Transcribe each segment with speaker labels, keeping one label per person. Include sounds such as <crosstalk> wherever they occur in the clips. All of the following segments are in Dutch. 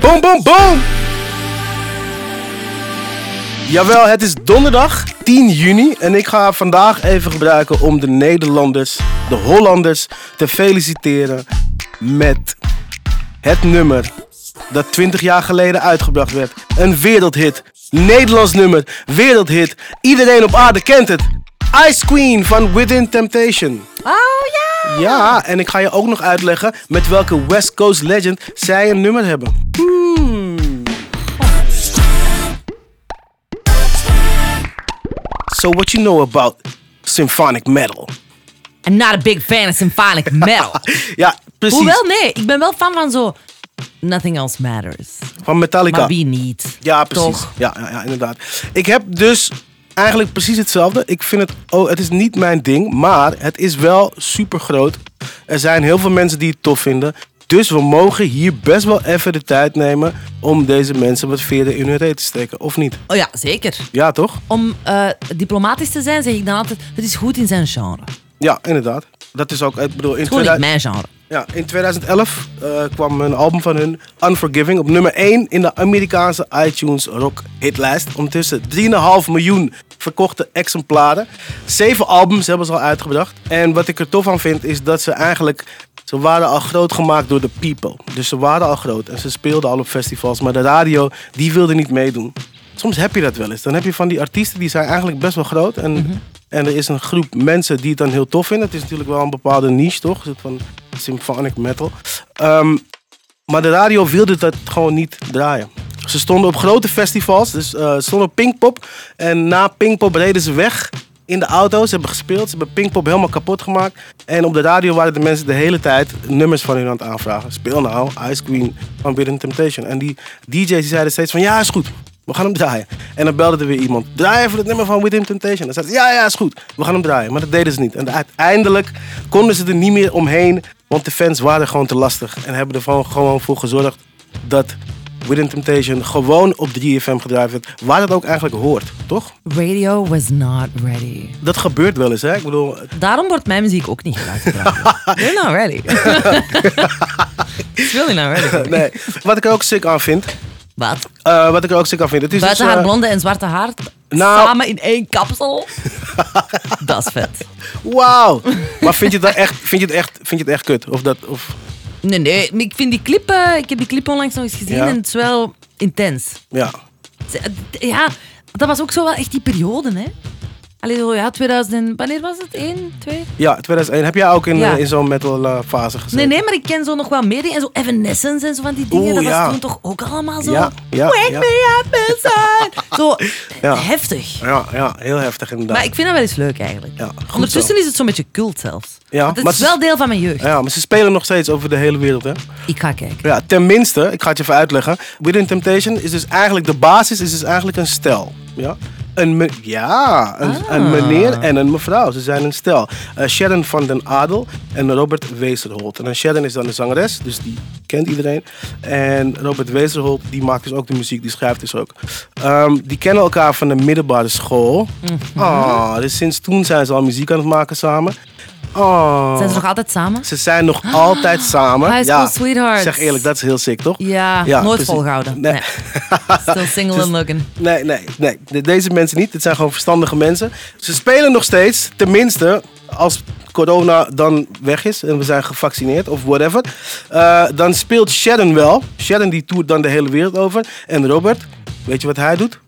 Speaker 1: Boom, boom, boom! Jawel, het is donderdag 10 juni en ik ga vandaag even gebruiken om de Nederlanders, de Hollanders, te feliciteren met het nummer dat 20 jaar geleden uitgebracht werd. Een wereldhit, Nederlands nummer, wereldhit. Iedereen op aarde kent het. Ice Queen van Within Temptation.
Speaker 2: Oh ja!
Speaker 1: Ja, en ik ga je ook nog uitleggen met welke West Coast legend zij een nummer hebben. Hmm. So what you know about symphonic metal?
Speaker 2: I'm not a big fan of symphonic <laughs> metal.
Speaker 1: Ja, precies.
Speaker 2: Hoewel, nee, ik ben wel fan van zo. Nothing else matters.
Speaker 1: Van Metallica.
Speaker 2: Maar wie niet?
Speaker 1: Ja, precies.
Speaker 2: Toch?
Speaker 1: Ja, ja, ja, inderdaad. Ik heb dus eigenlijk precies hetzelfde. Ik vind het, oh, het is niet mijn ding, maar het is wel super groot. Er zijn heel veel mensen die het tof vinden. Dus we mogen hier best wel even de tijd nemen om deze mensen wat verder in hun reet te steken, of niet?
Speaker 2: Oh ja, zeker.
Speaker 1: Ja, toch?
Speaker 2: Om eh, diplomatisch te zijn, zeg ik dan altijd: het is goed in zijn genre. Het
Speaker 1: Ja, inderdaad. Dat is ook, ik bedoel, in,
Speaker 2: is gewoon niet
Speaker 1: 2000
Speaker 2: mijn genre.
Speaker 1: ja, in 2011 eh, kwam een album van hun, Unforgiving, op nummer 1 in de Amerikaanse iTunes Rock Hitlijst. Ondertussen 3,5 miljoen verkochte exemplaren. Zeven albums hebben ze al uitgebracht. En wat ik er tof aan vind, is dat ze eigenlijk. Ze waren al groot gemaakt door de people. Dus ze waren al groot en ze speelden al op festivals. Maar de radio, die wilde niet meedoen. Soms heb je dat wel eens. Dan heb je van die artiesten die zijn eigenlijk best wel groot. En, en er is een groep mensen die het dan heel tof vinden. Het is natuurlijk wel een bepaalde niche, toch? Een soort van symphonic metal. Ehm, maar de radio wilde dat gewoon niet draaien. Ze stonden op grote festivals. Dus eh, ze stonden op Pinkpop. En na Pinkpop reden ze weg in de auto's. Ze hebben gespeeld. Ze hebben Pinkpop helemaal kapot gemaakt. En op de radio waren de mensen de hele tijd nummers van hun aan het aanvragen. Speel nou Ice Queen van Within Temptation. En die DJ's die zeiden steeds van ja, is goed. We gaan hem draaien. En dan belde er weer iemand. Draai even het nummer van Within Temptation. Dan zei ze, ja, ja, is goed. We gaan hem draaien. Maar dat deden ze niet. En uiteindelijk konden ze er niet meer omheen. Want de fans waren gewoon te lastig. En hebben er gewoon, gewoon voor gezorgd dat Within Temptation gewoon op 3FM gedraaid werd. Waar dat ook eigenlijk hoort, toch?
Speaker 2: Radio was not ready.
Speaker 1: Dat gebeurt wel eens, hè? Ik bedoel, eh,
Speaker 2: Daarom wordt mijn muziek ook niet gebruikt. <laughs> trouwens. You're not <laughs> ready. It's really not ready.
Speaker 1: nee. Wat ik er ook sick aan vind.
Speaker 2: Wat?
Speaker 1: eh, wat ik er ook sick aan vind. Het is
Speaker 2: Buiten
Speaker 1: dus,
Speaker 2: haar
Speaker 1: eh,
Speaker 2: blonde en zwarte haar
Speaker 1: nou-
Speaker 2: samen in één <laughs> kapsel. dat is vet.
Speaker 1: Wauw. Maar vind je, dat echt, vind, je het echt, vind je het echt kut? Of dat... Of,
Speaker 2: Nee, nee. maar Ik vind die clip... eh, ik heb die clip onlangs nog eens gezien
Speaker 1: Ja.
Speaker 2: en het is wel intens.
Speaker 1: ja.
Speaker 2: Ze- het- Ja, dat was ook zo wel echt die periode, hè. Allee, zo, ja, 2000... en- Wanneer was het? 1, 2?
Speaker 1: Ja, 2001. Heb jij ook in,
Speaker 2: Ja.
Speaker 1: eh, in zo'n metal eh, fase gezeten?
Speaker 2: Nee, nee, maar ik ken zo nog wel meer dingen. En zo Evanescence en zo van die dingen.
Speaker 1: Oeh,
Speaker 2: dat
Speaker 1: ja.
Speaker 2: was toen toch ook allemaal zo...
Speaker 1: Ja, ja,
Speaker 2: Wake
Speaker 1: ja.
Speaker 2: me up
Speaker 1: <laughs>
Speaker 2: inside. Zo
Speaker 1: Ja.
Speaker 2: heftig.
Speaker 1: Ja, ja, heel heftig inderdaad.
Speaker 2: Maar ik vind dat wel eens leuk eigenlijk.
Speaker 1: Ja, goed
Speaker 2: Ondertussen is het zo'n beetje cult zelfs.
Speaker 1: Ja,
Speaker 2: Want het
Speaker 1: maar
Speaker 2: is
Speaker 1: ze-
Speaker 2: wel deel van mijn jeugd.
Speaker 1: Ja, maar ze spelen nog steeds over de hele wereld, hè?
Speaker 2: Ik ga kijken.
Speaker 1: Ja, tenminste, ik ga het je even uitleggen. Within Temptation is dus eigenlijk, de basis is dus eigenlijk een stel. Ja, een, me- ja, een,
Speaker 2: Ah.
Speaker 1: een meneer en een mevrouw. Ze zijn een stel. Eh, Sharon van den Adel en Robert Westerholt. En dan Sharon is dan de zangeres, dus die kent iedereen. En Robert Westerholt, die maakt dus ook de muziek, die schrijft dus ook. Ehm, die kennen elkaar van de middelbare school.
Speaker 2: Mhm.
Speaker 1: Ah, dus sinds toen zijn ze al muziek aan het maken samen. Ah.
Speaker 2: Zijn ze nog altijd samen?
Speaker 1: Ze zijn nog altijd
Speaker 2: <gasps>
Speaker 1: samen.
Speaker 2: High school sweethearts.
Speaker 1: Zeg eerlijk, dat is heel sick, toch?
Speaker 2: Ja, nooit
Speaker 1: precies.
Speaker 2: volgehouden.
Speaker 1: Nee.
Speaker 2: Nee. <laughs> Still single
Speaker 1: Dus-
Speaker 2: and looking.
Speaker 1: Nee, nee, nee. De- Deze mensen niet. Dit zijn gewoon verstandige mensen. Ze spelen nog steeds, tenminste, als corona dan weg is en we zijn gevaccineerd of whatever. eh, dan speelt Sharon wel. Sharon die toert dan de hele wereld over. En Robert, weet je wat hij doet?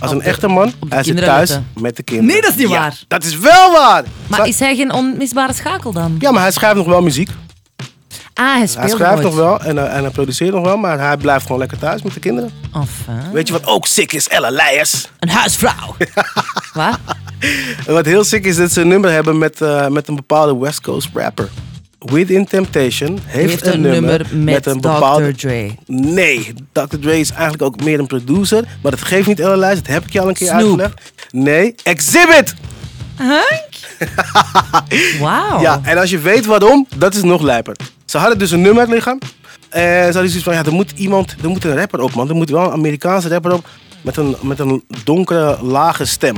Speaker 1: Als een
Speaker 2: Op de-
Speaker 1: echte man,
Speaker 2: op de
Speaker 1: hij zit
Speaker 2: kinderen
Speaker 1: thuis
Speaker 2: letten.
Speaker 1: met de kinderen.
Speaker 2: Nee, dat is niet
Speaker 1: Ja,
Speaker 2: waar.
Speaker 1: Dat is wel waar. Zou-
Speaker 2: Maar is hij geen onmisbare schakel dan?
Speaker 1: Ja, maar hij schrijft nog wel muziek.
Speaker 2: Ah, hij speelt
Speaker 1: Hij schrijft nog wel en, eh, en hij produceert nog wel, maar hij blijft gewoon lekker thuis met de kinderen.
Speaker 2: Enfin.
Speaker 1: Weet je wat ook sick is? Ella Leijers.
Speaker 2: Een
Speaker 1: <laughs>
Speaker 2: huisvrouw. Wat?
Speaker 1: En Wat heel sick is dat ze een nummer hebben met, eh, met een bepaalde West Coast rapper. Within Temptation heeft,
Speaker 2: Heeft een nummer met,
Speaker 1: een
Speaker 2: Dr.
Speaker 1: bepaalde...
Speaker 2: Dre.
Speaker 1: Nee, Dr. Dre is eigenlijk ook meer een producer. Maar dat geeft niet Ella Leijers, dat heb ik je al een keer
Speaker 2: Snoop.
Speaker 1: uitgelegd. Nee, Exhibit!
Speaker 2: Hank? Wauw.
Speaker 1: Ja, en als je weet waarom, dat is nog lijper. Ze hadden dus een nummer liggen. En ze hadden zoiets van, ja, er moet iemand, er moet een rapper op, man. Er moet wel een Amerikaanse rapper op met een, met een donkere, lage stem.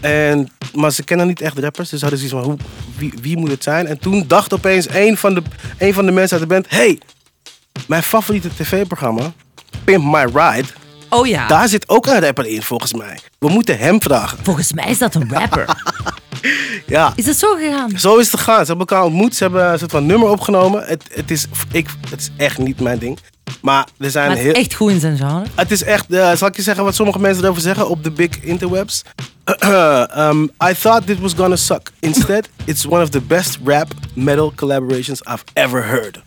Speaker 1: En, maar ze kennen niet echt rappers, dus ze hadden zoiets van, hoe, wie, wie moet het zijn? En toen dacht opeens een van de, een van de mensen uit de band, hey, mijn favoriete tv-programma Pimp My Ride.
Speaker 2: Oh ja.
Speaker 1: Daar zit ook een rapper in, volgens mij. We moeten hem vragen.
Speaker 2: Volgens mij is dat een rapper.
Speaker 1: Ja.
Speaker 2: Is dat zo gegaan?
Speaker 1: Zo is het gegaan. Ze hebben elkaar ontmoet. Ze hebben een soort van nummer opgenomen. Het, het, is, ik, het is echt niet mijn ding. Maar er zijn
Speaker 2: Maar het
Speaker 1: heel...
Speaker 2: is echt goed in zijn genre.
Speaker 1: Het is echt, eh, zal ik je zeggen wat sommige mensen erover zeggen op de big interwebs? <clears throat> um, I thought this was gonna suck. Instead,
Speaker 2: <laughs>
Speaker 1: it's one of the best rap metal collaborations I've ever heard.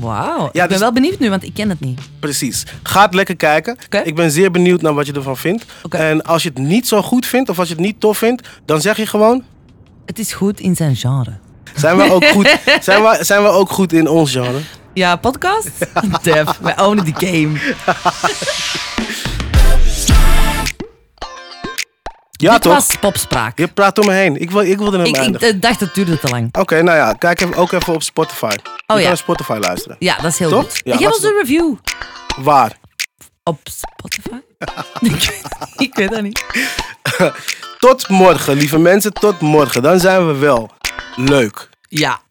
Speaker 2: Wauw. ik
Speaker 1: Ja,
Speaker 2: ben
Speaker 1: dus-
Speaker 2: wel benieuwd nu, want ik ken het niet.
Speaker 1: Precies. Ga het lekker kijken.
Speaker 2: Oké.
Speaker 1: Ik ben zeer benieuwd naar wat je ervan vindt.
Speaker 2: Oké.
Speaker 1: En als je het niet zo goed vindt of als je het niet tof vindt, dan zeg je gewoon:
Speaker 2: Het is goed in zijn genre.
Speaker 1: zijn we ook
Speaker 2: <laughs>
Speaker 1: goed, zijn we, zijn we ook goed in ons genre?
Speaker 2: Ja, podcast?
Speaker 1: <laughs>
Speaker 2: Def, we ownen the game.
Speaker 1: Ja,
Speaker 2: Dit
Speaker 1: toch?
Speaker 2: was popspraak.
Speaker 1: Je praat om me heen. Ik, wil, ik wilde hem
Speaker 2: Ik, ik
Speaker 1: eindigen.
Speaker 2: eh, dacht dat duurde te lang.
Speaker 1: Oké, nou ja, kijk even, ook even op Spotify. je
Speaker 2: Oh ja.
Speaker 1: kan op Spotify luisteren.
Speaker 2: Ja, dat is heel
Speaker 1: Toch?
Speaker 2: goed.
Speaker 1: Ja,
Speaker 2: En Geef
Speaker 1: laat
Speaker 2: ons een review.
Speaker 1: Waar?
Speaker 2: Op
Speaker 1: <laughs>
Speaker 2: Spotify? <laughs> ik, weet- ik weet dat niet.
Speaker 1: Tot morgen, lieve mensen. Tot morgen. Dan zijn we wel leuk.
Speaker 2: Ja.